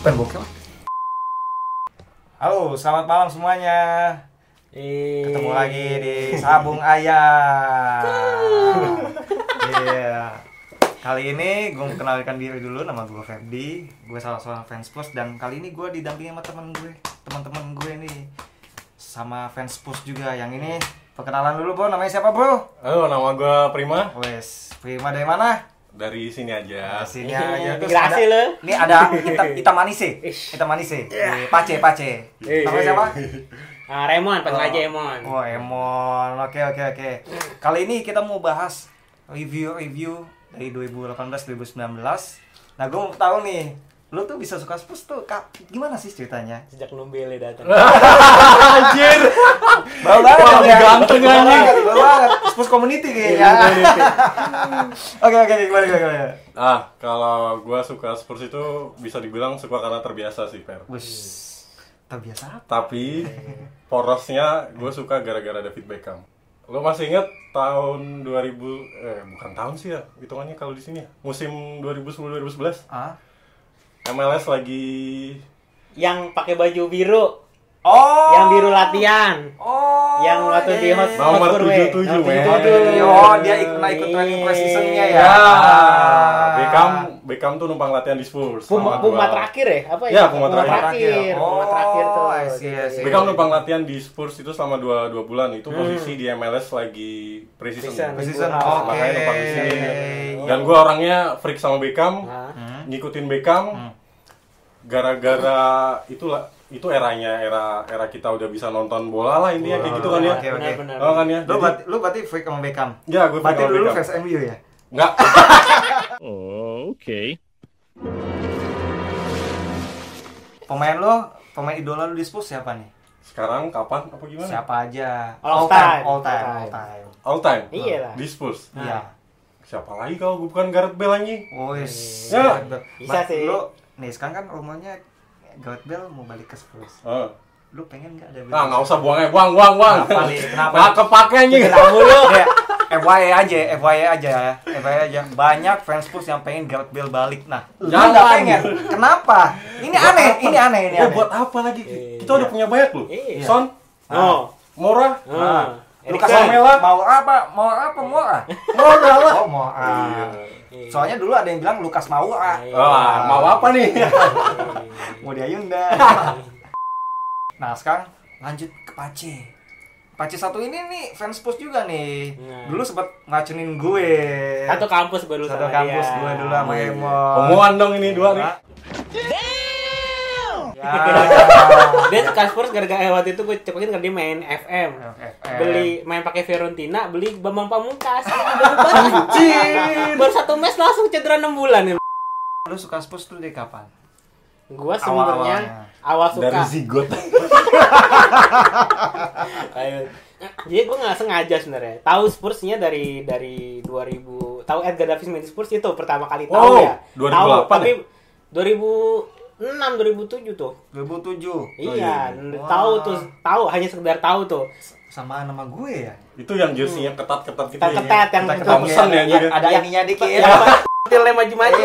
Bukan bokep. Halo, selamat malam semuanya. Eh, Ketemu lagi di Sabung Ayah. Iya. Kali ini gue mau kenalkan diri dulu, nama gue Ferdi. Gue salah seorang fans plus dan kali ini gue didampingi sama teman gue, teman-teman gue nih sama fans plus juga. Yang ini perkenalan dulu bro, namanya siapa bro? Halo, Oh, nama gue Prima Wes, Prima dari mana? dari sini Nah, aja. sini aja. Terus Gerasi ada- lu. Ini ada hitam, hitam manis sih, Ish. hitam manis sih. Pace, pace. Namanya siapa? Ah, Raymond, panggil aja Raymond. Oh, Emon. Oke, oke, oke. Kali ini kita mau bahas review-review dari 2018-2019. Nah, gue mau tahu nih, lu tuh bisa suka Spurs tuh ka- gimana sih ceritanya? Sejak Numbele datang. Anjir. Bau banget Wah, kan, ya? ganteng Bau anjing. banget, bau banget. Spurs community kayaknya. Oke, oke, gimana, gimana, gimana? Ah, kalau gue suka Spurs itu bisa dibilang suka karena terbiasa sih, Per. Wih, terbiasa apa? Tapi porosnya gue suka gara-gara David Beckham. Lo masih inget tahun 2000 eh bukan tahun sih ya, hitungannya kalau di sini ya. Musim 2010-2011 Ah? MLS lagi Yang pakai baju biru, Oh. yang biru latihan. Oh. yang waktu iya, di iya, hot iya. Nomor Hotspur, weh. 77, Nomor weh. 77. Oh, dia ikut nah, ikut training Iya. preseasonnya ya. Ya, Ah. Beckham Beckham tuh numpang latihan di Spurs. Puma, sama Puma gua. terakhir ya? Apa Ya, ya? Puma terakhir. Puma terakhir tuh. gitu. Oh, I see, I see. Beckham numpang latihan di Spurs itu selama dua, dua bulan itu posisi di MLS lagi Pre-season. pre-season. Preseason, Makanya oke. Makanya numpang di sini. Dan gue orangnya freak sama Beckham, Nah, Hmm. ngikutin Beckham. Gara-gara itulah itu eranya era era kita udah bisa nonton bola lah intinya kayak gitu kan ya. Oke, oke. Benar-benar. Oh kan ya. Lu Jadi- berarti lu berarti freak sama Beckham. Ya, gue freak Berarti sama lu dulu Beckham. fans MU ya? Enggak. Pemain lu, pemain idola lu di Spurs siapa nih? Sekarang kapan apa gimana? Siapa aja? All time. Hmm. all time, All all time. All time. Iya lah. Di Spurs. Iya. Siapa lagi kalau gue bukan Gareth Bale anjing? Wes. Ya. Bisa sih. Lu nih sekarang kan rumahnya Gareth Bale mau balik ke Spurs. Eh. Lu pengen enggak ada Bale? Nah, nggak usah buangnya, buang, buang, buang. Kenapa nih? Kenapa Nggak kepake anjing. Kamu lu ya, FYI aja, FYI aja ya. FYI aja. Banyak fans Spurs yang pengen Gareth Bale balik. Nah, lu Jangan. nggak pengen. Kenapa? Ini aneh, ini aneh, ini Ya aneh. buat apa lagi? Iya. Kita udah punya banyak loh. Iya. Son, Ah. Oh. Mora, Iya. Nah. Lukas Erikson. Romela kan mau apa? Mau apa? Mau ah? Mora lah. Oh, mau ah. Soalnya dulu ada yang bilang Lukas mau ah. Iya. Wah, mau apa nih? Iya, Mau dia Yunda. nah, sekarang lanjut ke Pace. Pace satu ini nih fans Spurs juga nih. Nah. Dulu sempat ngacunin gue. Satu kampus baru Satu kampus gue dulu sama Emon. Omongan dong ini dua nih. Ya. dia suka Spurs gara-gara eh, waktu itu gue cekokin karena dia main FM FM. beli main pakai Fiorentina beli Bambang Pamungkas anjir baru satu mes langsung cedera 6 bulan ya Lu suka Spurs tuh dari kapan? gua sebenarnya awal suka Dari zigot. Ayo. jadi gua nggak sengaja sebenarnya tahu Spursnya dari dari 2000 tahu Edgar Davis main di Spurs itu pertama kali tahu Oh, ya 2008 tahu tapi ya? 2006 2007 tuh 2007. iya, Wah. tahu tuh tahu hanya sekedar tahu tuh Sama nama gue ya. Itu yang jersinya ketat-ketat gitu. ya. ketat-ketat yang Kita Iya, ketemu Bagusan ya, juga. ada ininya dikit. Iya. Tilnya maju-maju.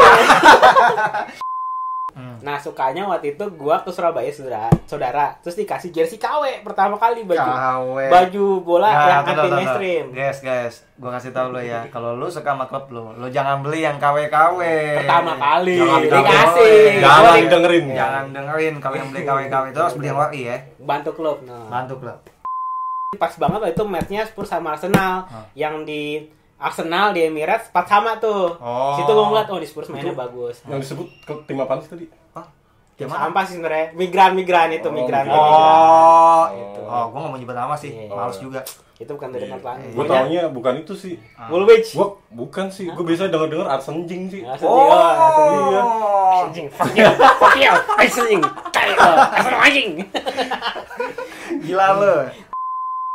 Hmm. Nah sukanya waktu itu gua ke Surabaya saudara, saudara. terus dikasih jersey KW pertama kali baju KW. baju bola Nah, yang tuh, anti tuh, tuh, tuh. mainstream. Guys, guys, gua kasih tahu lo ya, kalau lu suka sama klub lo, lo jangan beli yang KW-KW. Pertama kali Jangan dikasih. dengerin. Jangan Gua di- dengerin. Jangan dengerin kalau yang beli KW-KW itu harus beli yang WI ya. bantu klub. Nah, Bantu klub. pas banget waktu itu matchnya Spurs sama Arsenal Hah. yang di Arsenal di Emirates pas sama tuh. Oh. Situ gua ngeliat oh di Spurs mainnya Itu- bagus. Yang disebut ke- tim apa sih tadi? Hah? Gimana? Sampah sih sebenarnya migran-migran itu Oh, migran. migran. migran. Oh, itu. Oh, gua nggak mau nyebut nama sih. Iya. Males juga. Itu bukan dari Atlanta. Gue Iya. Iya. taunya bukan itu sih. Woolwich. Gue bukan sih. Gue biasa denger-denger Arsenjing sih. Ya, sedih, Oh. wah, sedih. Anjing. anjing fuck you fuck you anjing tai lo asal anjing Gila lu.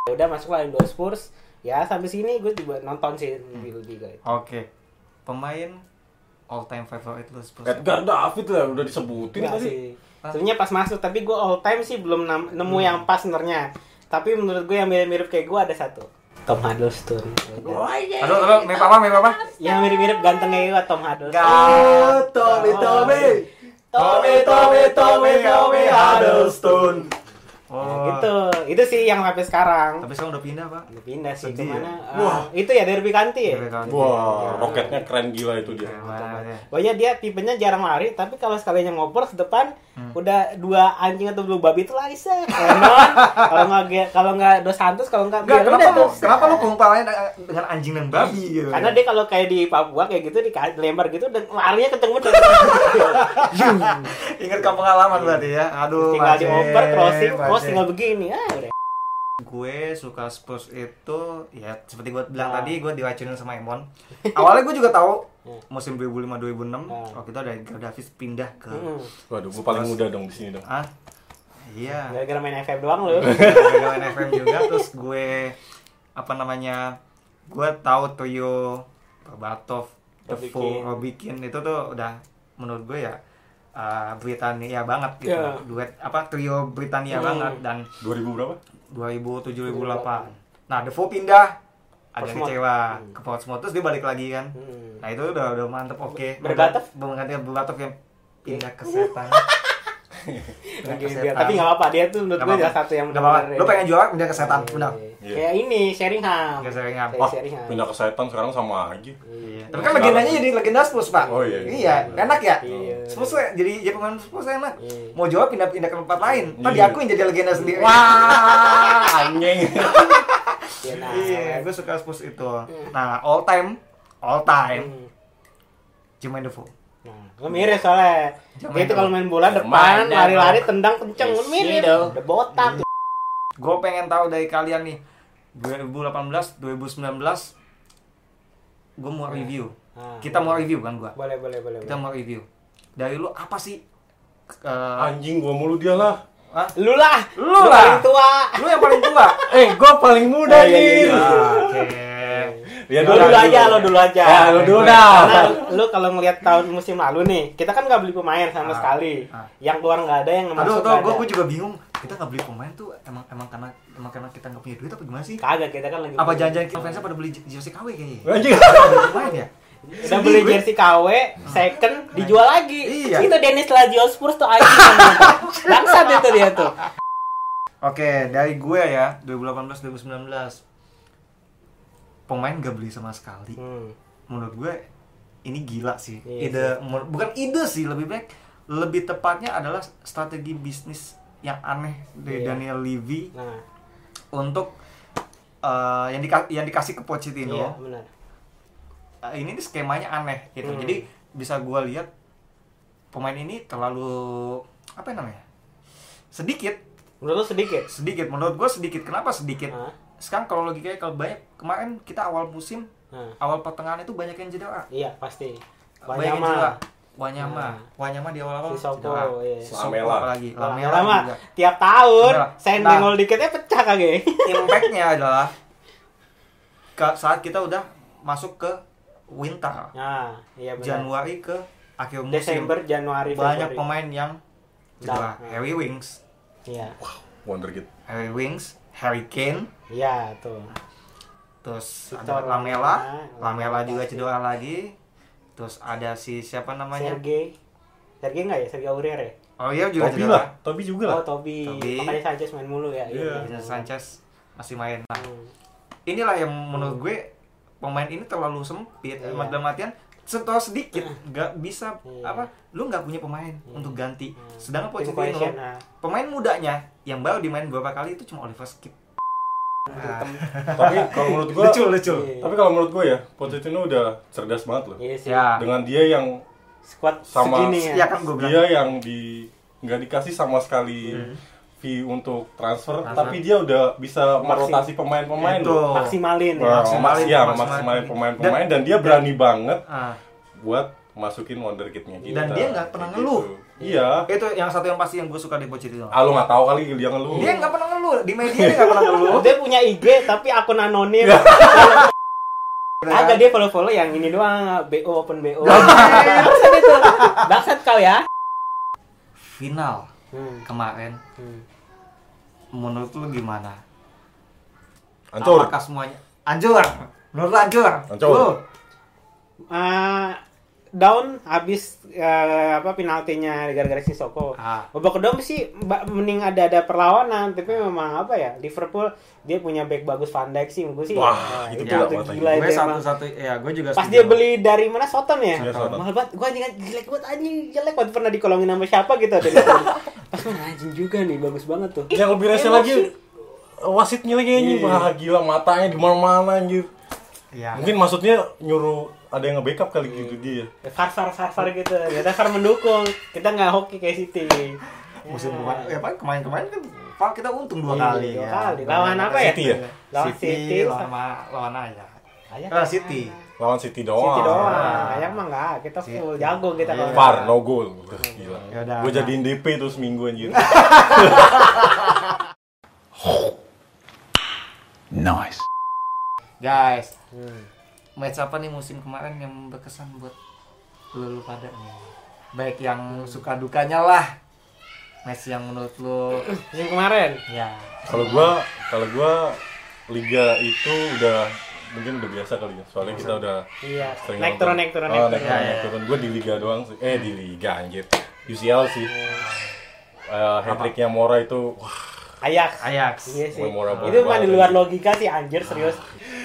Ya udah masuk lah Indo Spurs ya sampai sini gue juga nonton sih lebih lebih guys Oke. Pemain all time favorite lu Spurs. Edgar David lah udah disebutin Nggak tadi. sih sebenarnya pas masuk tapi gue all time sih belum nam- nemu yang pas sebenarnya tapi menurut gue yang mirip-mirip kayak gue ada satu Tom Hiddleston Aduh, aduh, meme apa, meme apa? yang mirip-mirip ganteng kayak gue Tom Hiddleston Gato, Tommy. Oh, Tommy, Tommy, Tommy, Tommy Huddleston. Oh, Nah, gitu. Itu sih yang sampai sekarang. Tapi sekarang udah pindah, Pak. Udah pindah sih Sedih kemana? ya? eh, itu ya Derby Kanti ya. Derby County. Iya. Wah, roketnya keren gila itu dia. Iya, Gimana ya? Kan. Pokoknya dia tipenya jarang lari, tapi kalau sekalinya ngoper depan Hmm. udah dua anjing atau dua babi itu lari set. Lennon, kalau nggak Ge- kalau nggak Dos Santos, kalau nggak Enggak, Biel, kenapa Ya udah lu tuh. kenapa lu kumpulin dengan anjing dan babi gitu? Karena dia kalau kayak di Papua kayak gitu dilempar gitu dan larinya kenceng banget. ingat kamu pengalaman berarti ya. Aduh, tinggal Mace, dioper crossing, cross Mace. tinggal begini. Ah, udah. gue suka Spurs itu ya seperti gue bilang tadi gue diracunin sama Emon awalnya gue juga tahu musim 2005-2006 waktu itu ada Edgar Davis pindah ke Mm. Waduh, gue paling muda dong di sini dong. ah iya Gara-gara main FM doang lu. gara-gara NFM juga terus gue apa namanya gue tahu Toyo Berbatov Defoe Robikin itu tuh udah menurut gue ya eh, Britania banget gitu Iya. duet apa trio Britania banget dan 2000 berapa? 2007 2008 nah Defoe pindah agak Portsmouth. kecewa ke Portsmouth terus dia balik lagi kan Hmm. nah itu udah udah mantep oke Berbatov? bergantian Berbatov yang pindah ke setan Pindah ke Begini dia. setan. Tapi nggak apa-apa dia tuh menurut Nggak gue apa-apa. salah satu yang Nggak apa-apa. bener-bener Lu ini. pengen Ah, juara pindah ke setan, benar. Iya. Kayak ini Sheringham. Kayak Sheringham. Kayak Wah, Sheringham. Ah, pindah ke setan sekarang sama aja. Iya. Tapi kan legendanya jadi legenda Spurs, Pak. Oh, iya, Oh. iya. enak ya. Iya. Spurs tuh jadi jadi pemain Spurs enak. Iya. Mau juara pindah-pindah ke tempat lain, Pak Iya. diakuin jadi legenda sendiri. Wah, anjing. Iya, nah, Iya, gue suka Spurs itu. Nah, all time, all time, Hmm. Jermaine Defoe. Nah, gue mirip soalnya. Jangan Dia itu dong. Iya kalau main bola Jangan depan, dong. lari-lari tendang kenceng, Yes, gue mirip. dong. Udah botak. Gue pengen tahu dari kalian nih 2018, 2019 gue mau review. Ah. Kita mau review kan gua. Boleh, boleh, boleh. Kita boleh. mau review. Dari lu apa sih? Oh, Eh, iya. Anjing gua mulu dia lah. ah, Lu lah, Lu lah. paling tua. lu yang paling tua. Eh, gua paling muda Oh, iya, iya, nih. iya. Ah, Oke. Ya, Lihat Lu dulu aja, lo dulu Iya, aja. Ya, lu dulu dah. Karena lu kalau ngelihat tahun musim lalu nih, kita kan nggak beli pemain sama Ah. sekali. Ah. Yang keluar nggak ada, yang Aduh, masuk tuh nggak gue ada. juga bingung. Kita nggak beli pemain tuh emang emang karena emang karena kita nggak punya duit apa gimana sih? Kagak, kita kan lagi Apa beli. jangan-jangan kita fansnya pada beli j- jersey KW kayaknya? ya? Iya. Anjing. Main ya? Udah beli gue. jersey KW, second, dijual lagi. Nah. Iya. Itu Dennis Lazio Spurs tuh anjing. Bangsat itu dia tuh. Oke, dari gue ya 2018 2019 pemain gak beli sama sekali. Hmm. Menurut gue ini gila sih. Iya ide menur- bukan ide sih, lebih baik lebih tepatnya adalah strategi bisnis yang aneh dari Iya. Daniel Levy Nah, untuk eh, yang dika- yang dikasih ke Pochettino. iya benar. Eh, ini nih skemanya aneh gitu. Hmm. Jadi bisa gue lihat pemain ini terlalu apa namanya? sedikit Menurut lu sedikit? sedikit menurut gue sedikit kenapa sedikit Hah? sekarang kalau logikanya kalau banyak kemarin kita awal musim Nah, awal pertengahan itu banyak yang jeda iya pasti. banyak Banyak yang jeda mah. Wanyama Nah. Wanyama di awal awal Sissoko, iya. Sissoko Lamela. apalagi Lamela Lamela mah juga. tiap tahun Lamela. saya Nah. nengol dikitnya pecah kagak. eh? impactnya adalah ke- saat kita udah masuk ke winter Nah, iya benar. Januari ke akhir musim Desember, Januari, banyak Februari. Nah, pemain yang Dah. cedera Harry Wings Iya. Wonderkid. Harry Wings Harry Kane Iya, tuh. terus Victor ada Lamela Lamela, Lamela juga pasti. cedera lagi terus ada si siapa namanya Sergei. Sergei enggak ya? Sergei Aurier ya? oh iya juga Tobi cedera lah, Tobi juga lah. Oh, Tobi. Tobi. Makanya Sanchez main mulu ya. Iya. Bisa Sanchez masih main nah Hmm. inilah yang menurut gue pemain ini terlalu sempit Iya. dalam artian setor sedikit nggak bisa Iya. apa lu nggak punya pemain untuk ganti sedangkan Tim Hmm. Pochettino cohesion, ah. pemain mudanya yang baru dimain beberapa kali itu cuma Oliver Skip Ah. tapi kalau menurut gua lucu lucu Iya. tapi kalau menurut gua ya, Pochettino udah cerdas banget loh. Iya sih. ya Dengan dia yang Squad Sama- segini ya ya. kan gue bilang dia yang di nggak dikasih sama sekali fee untuk transfer, Hmm. Transfer. tapi dia udah bisa merotasi pemain-pemain Itu. loh. Maksimalin ya. Nah, Maksimalin, iya, maksimalin. maksimalin pemain-pemain dan, dia berani banget Ah, buat masukin wonderkidnya kita. Dan dia nggak pernah Kayak ngeluh. Iya. itu yang satu yang pasti yang gue suka di Pochettino Ah, lu nggak tahu kali dia ngeluh. dia nggak pernah ngeluh di media dia nggak pernah ngeluh Dia punya IG tapi akun anonim. Iya. Agak dia follow-follow yang ini doang, BO open BO. Bangsat itu. Bangsat kau ya. final Hmm. kemarin Hmm. menurut lu gimana Hancur. apakah semuanya anjur menurut lu anjur Hancur. Lu? Ah, down habis eh, apa penaltinya gara-gara si Soko. Ah. Babak kedua sih ba- mending ada ada perlawanan, tapi memang apa ya Liverpool dia punya back bagus Van Dijk sih menurut gue sih. Wah, eh, itu gila itu banget gila Ya. gue itu emang. satu-satu ya gue juga Pas setuju. dia beli dari mana Soton ya? Iya, Soton. Mahal banget. Gua anjing jelek banget anjing jelek banget pernah dikolongin sama siapa gitu ada di sana. Pas gua, anjing juga nih bagus banget tuh. Yang lebih rese Emosi. lagi wasitnya lagi anjing. Iya. Wah, gila matanya di mana-mana anjir. ya. Mungkin maksudnya nyuruh ada yang nge-backup kali Hmm. gitu dia. Far far far far Ya, gitu. Ya far mendukung. Kita nggak hoki kayak City. musim kemarin ya paling kemarin-kemarin kan Pak kita untung dua Iya, kali dua ya. kali. Lawan apa ya? City ya? Lawan City, City. Ya. lawan ma- lawan Ajax. Eh, Ajax mana? City. Lawan City City doang. doang. Kayak mah nggak. Kita full City. jago kita Iya. kalau. Par, no goal. Udah, gila. Yaudah, Gue nah. jadiin DP tuh seminggu anjir. Nice. Guys, Hmm. match apa nih musim kemarin yang berkesan buat lu, lu pada nih? Baik yang suka dukanya lah. Match yang menurut lu Yang kemarin. ya Kalau gua, kalau gua liga itu udah mungkin udah biasa kali ya. Soalnya kita udah Iya. sering Naik nonton. turun naik turun Ah, naik naik turun. turun, naik turun. Gua di liga doang sih. Eh, di liga anjir. UCL sih. Eh, hat-tricknya Mora itu wah, Ajax. Ajax. Iya sih. Memorable Itu mah di banget. luar logika sih anjir serius.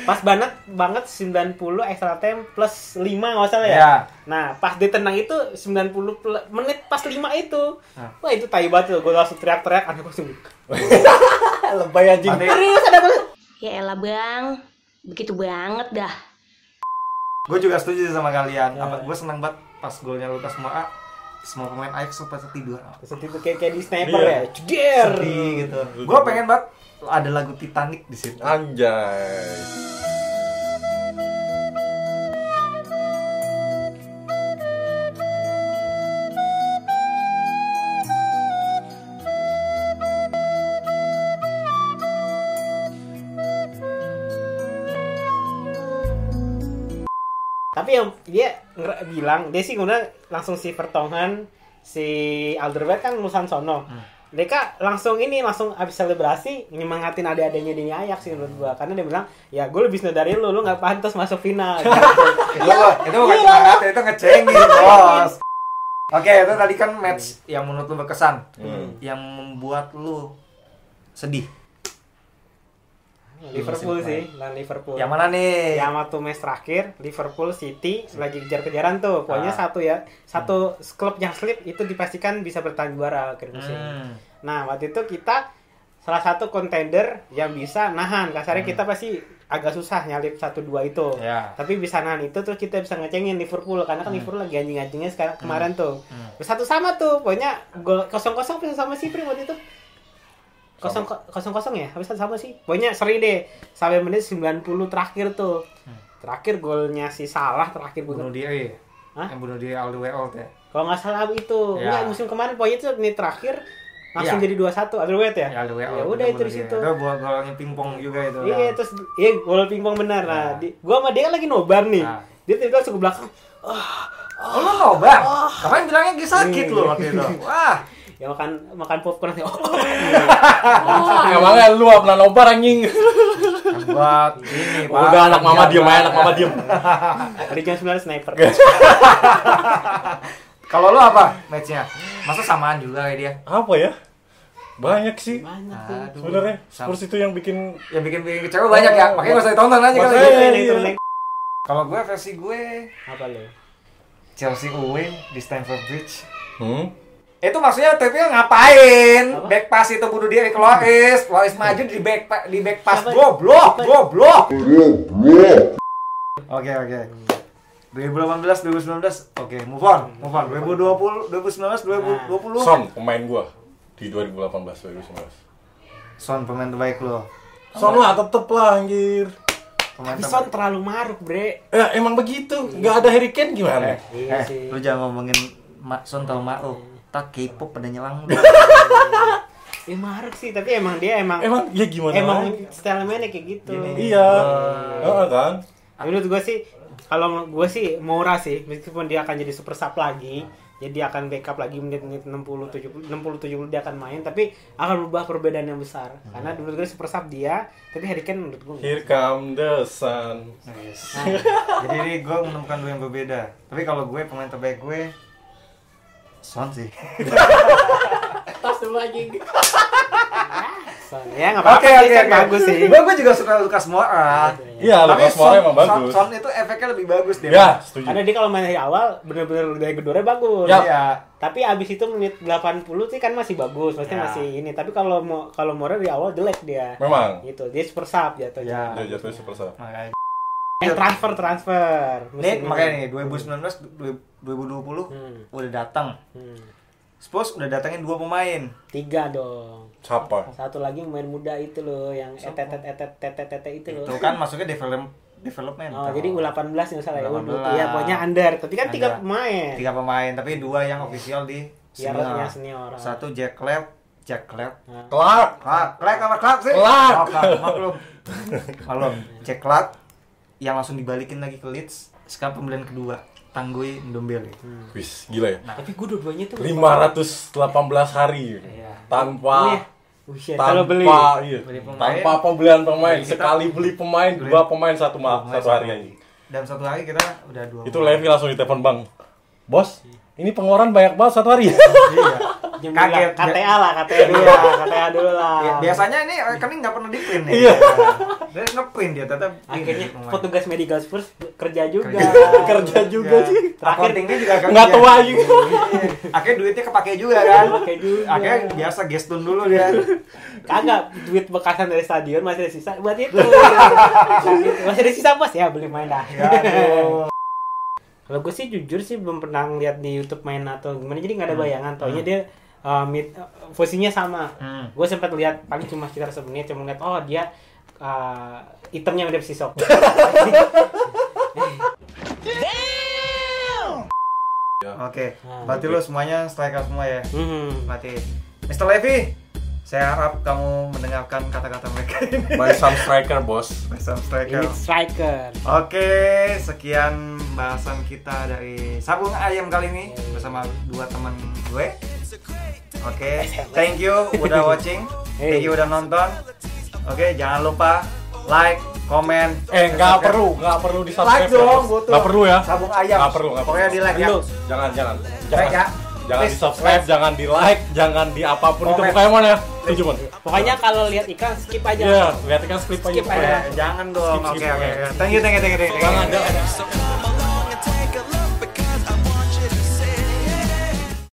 Pas banget banget 90 extra time plus 5 nggak salah ya. Iya. Nah, pas ditendang itu 90 pel- menit pas 5 itu. Nah. Wah, itu tai banget tuh. Gue langsung teriak-teriak anak gue langsung, lebay anjing. Padahal- Serius ada banget. Ya elah bang, begitu banget dah. Gue juga setuju sama kalian. Ya. Apa gue senang banget pas golnya Lukas Moura semua pemain Ajax sempat tidur. Terus itu kayak, kayak di sniper Iya. ya. Jeder. Sedih gitu. Gue pengen banget ada lagu Titanic di situ. Anjay. Tapi yang dia nger- bilang, dia sih kemudian langsung si Vertonghen, si Alderweireld kan lulusan sono. Hmm. Mereka langsung ini langsung abis selebrasi nyemangatin adik-adiknya di Ajax sih menurut gua karena dia bilang ya gue lebih senior dari lu lu nggak pantas masuk final itu itu bukan semangat, itu ngecengin bos. Oke, itu tadi kan Hmm. match yang menurut lu berkesan, yang membuat lu sedih. Liverpool sih lawan Iya, Liverpool Yang mana nih? Ya sama tuh match terakhir Liverpool City lagi kejar-kejaran tuh pokoknya Ah. satu ya satu klub yang slip itu dipastikan bisa bertahan juara akhir musim Hmm. Nah, waktu itu kita salah satu kontender yang bisa nahan. Kasarnya kita pasti agak susah nyalip 1-2 itu. Hmm. Ya. Hmm. Tapi bisa nahan itu terus kita bisa ngecengin Liverpool karena kan Liverpool lagi anjing-anjingnya sekarang kemarin tuh. Terus Satu sama tuh, pokoknya gol 0-0 bisa sama si Prim waktu itu. Kosong, kosong kosong ya, habis satu sama sih. Pokoknya seri deh, sampai menit 90 terakhir tuh. Terakhir golnya si Salah terakhir gua- Bunuh diri. Hah? Yang bunuh diri all the way out ya. Kalau nggak salah itu, Ya. Enggak, musim kemarin pokoknya itu menit terakhir langsung Ya. jadi 2-1 Otherwise ya. Ya, all the way out. Ya udah itu di situ. Itu buat golnya pingpong juga itu. Iya kan. terus iya bola pingpong benar. Nah, di, gua sama dia kan lagi nobar nih. Nah. Dia tiba-tiba langsung ke belakang. Oh, lu nobar. Kemarin bilangnya gue sakit lu waktu itu. Wah, Ya makan makan popcorn nanti. Ah, emangnya lu apa nobar anjing? buat ini. Iya, Pak. Udah anak mama diem aja, anak mama diem. Dari jam 9 sniper. Kalau lu apa matchnya? Masa samaan juga kayak dia? Apa ya? Banyak sih. Banyak tuh. Aduh. Sebenarnya Sam- Spurs itu yang bikin yang bikin bikin kecewa banyak ya makanya gak usah ditonton aja kali Makanya. ya. Iya, iya, iya. iya. kalau gue versi gue Apa lu? Chelsea Uwin di Stamford Bridge Hmm? itu maksudnya TPL ngapain back pass itu bunuh diri ke Loris Loris maju di back pa- di back pass Hmm. Siapa? goblok Siapa? goblok oke oke 2018 2019 oke move on move on 2020 2019 2020 hmm? Son, pemain gua di 2018 2019. Son pemain terbaik lo Son lah tetep lah anjir. pemain Tapi terbaik Eh, Son terlalu maruk, Bre. Eh, emang begitu. Gak ada Harry Kane gimana? eh Iya sih. lu jangan ngomongin Ma- Son tau Maro Iya. tak K-pop pada nyelang lu. Ya maruk sih, tapi emang dia emang Emang ya gimana? emang lagi? style mainnya kayak gitu. Gini. iya. Heeh kan? Menurut gua sih Kalau gue sih Moura sih, meskipun dia akan jadi super sub lagi, jadi dia akan backup lagi menit-menit 60 70 60 70 dia akan main tapi akan berubah perbedaan yang besar. Karena menurut gue super sub dia, tapi Harry Kane menurut gue Here come the sun. Yes. Nah, Jadi gue menemukan dua yang berbeda. Tapi kalau gue pemain terbaik gue Son sih. tas dulu anjing. ya nggak apa-apa sih, Son bagus sih. Hmm. Gue gue juga suka Lukas Moura. Iya, Lucas Moura emang bagus. Son, itu efeknya lebih bagus deh. Ya, setuju. Karena dia kalau main dari awal bener-bener dari gedornya bagus. Ya. Iya. Tapi abis itu menit 80 sih kan masih bagus, maksudnya Ya. masih ini. Tapi kalau mau kalau Moura di awal jelek dia. Memang. Gitu, dia super sub jatuhnya. Ya. Dia jatuhnya super sub. Makanya. Eh, transfer transfer. Nih, Musim Ya. makanya nih ini. 2019 du- 2020 Hmm. udah datang. Hmm. Spurs udah datangin dua pemain. Tiga dong. Siapa? Satu lagi main muda itu loh yang etet etet etet etet etet itu loh. Itu kan masuknya develop development. Oh, jadi U18 yang salah ya. U20. 18. Iya, pokoknya under. Tapi kan Under. tiga pemain. tiga pemain, tapi dua yang official di Iya, senior. yang senior. Nah. Satu Jack Clapp, Jack Clapp, Clark. Clark, Clark apa Clark sih? Clark. Oh, Clark, maklum. maklum. Jack Clark yang langsung dibalikin lagi ke Leeds. Sekarang pembelian kedua, Tanggui Ndombele. Hmm. Wis, gila ya. Tapi gue dua-duanya tuh 518 Iya. hari Oh, iya. tanpa Buset, tanpa kalau beli. iya, Beli pemain. tanpa pembelian pemain Beli kita. sekali beli pemain Beli. dua pemain satu ma- Pemain satu satu. hari aja Dalam satu hari kita udah dua. itu pemain. Levi langsung ditelepon bang bos ini pengeluaran banyak banget satu hari Iya. Jam Kaget. bilang, KTA lah, KTA dulu lah, KTA dulu lah. Ya, biasanya ini rekening nggak pernah diprint ya. Iya. Dia ngeprint dia tetap ini, akhirnya pemain. petugas medical Spurs kerja juga. Iya, Kerja. kerja juga Ya. sih Terakhir- Accountingnya juga kerja. nggak tua juga Iya. Akhirnya duitnya kepake juga kan. Kepake juga. gitu. Akhirnya biasa gestun dulu dia. Kagak duit bekasan dari stadion masih ada sisa buat itu. masih ada sisa bos ya beli main dah. Ya, aduh. Kalau gue sih jujur sih belum pernah lihat di YouTube main atau gimana jadi nggak ada bayangan. Taunya dia uh, mid- uh, posisinya sama. Hmm. Gue sempat lihat paling cuma sekitar semenit cuma lihat oh dia uh, itemnya mirip si Sok. Oke, Nah, Hmm. berarti lo semuanya striker semua ya. Hmm. Mati. Mr. Levy, saya harap kamu mendengarkan kata-kata mereka ini. by some striker bos Bersama Ini striker. striker. Oke, sekian bahasan kita dari Sabung Ayam kali ini bersama dua teman gue. Oke, thank you udah watching, thank you udah nonton. Oke, jangan lupa like, comment. eh nggak perlu nggak perlu di subscribe Like dong, butuh. nggak perlu ya Sabung Ayam. Nggak perlu, nggak perlu. Pokoknya di like ya. Perlu. jangan jangan jangan Like ya. jangan di Please, subscribe jangan di like jangan di apapun itu Komen. pokoknya mana ya setuju Mon. Pokoknya kalau lihat iklan skip aja. Iya, lihat kan skip aja. Skip aja. Eh, jangan dong. Skip, Oke, skip. oke. oke. Thank you, thank you, thank you. thank you. Jangan, jangan. So come on.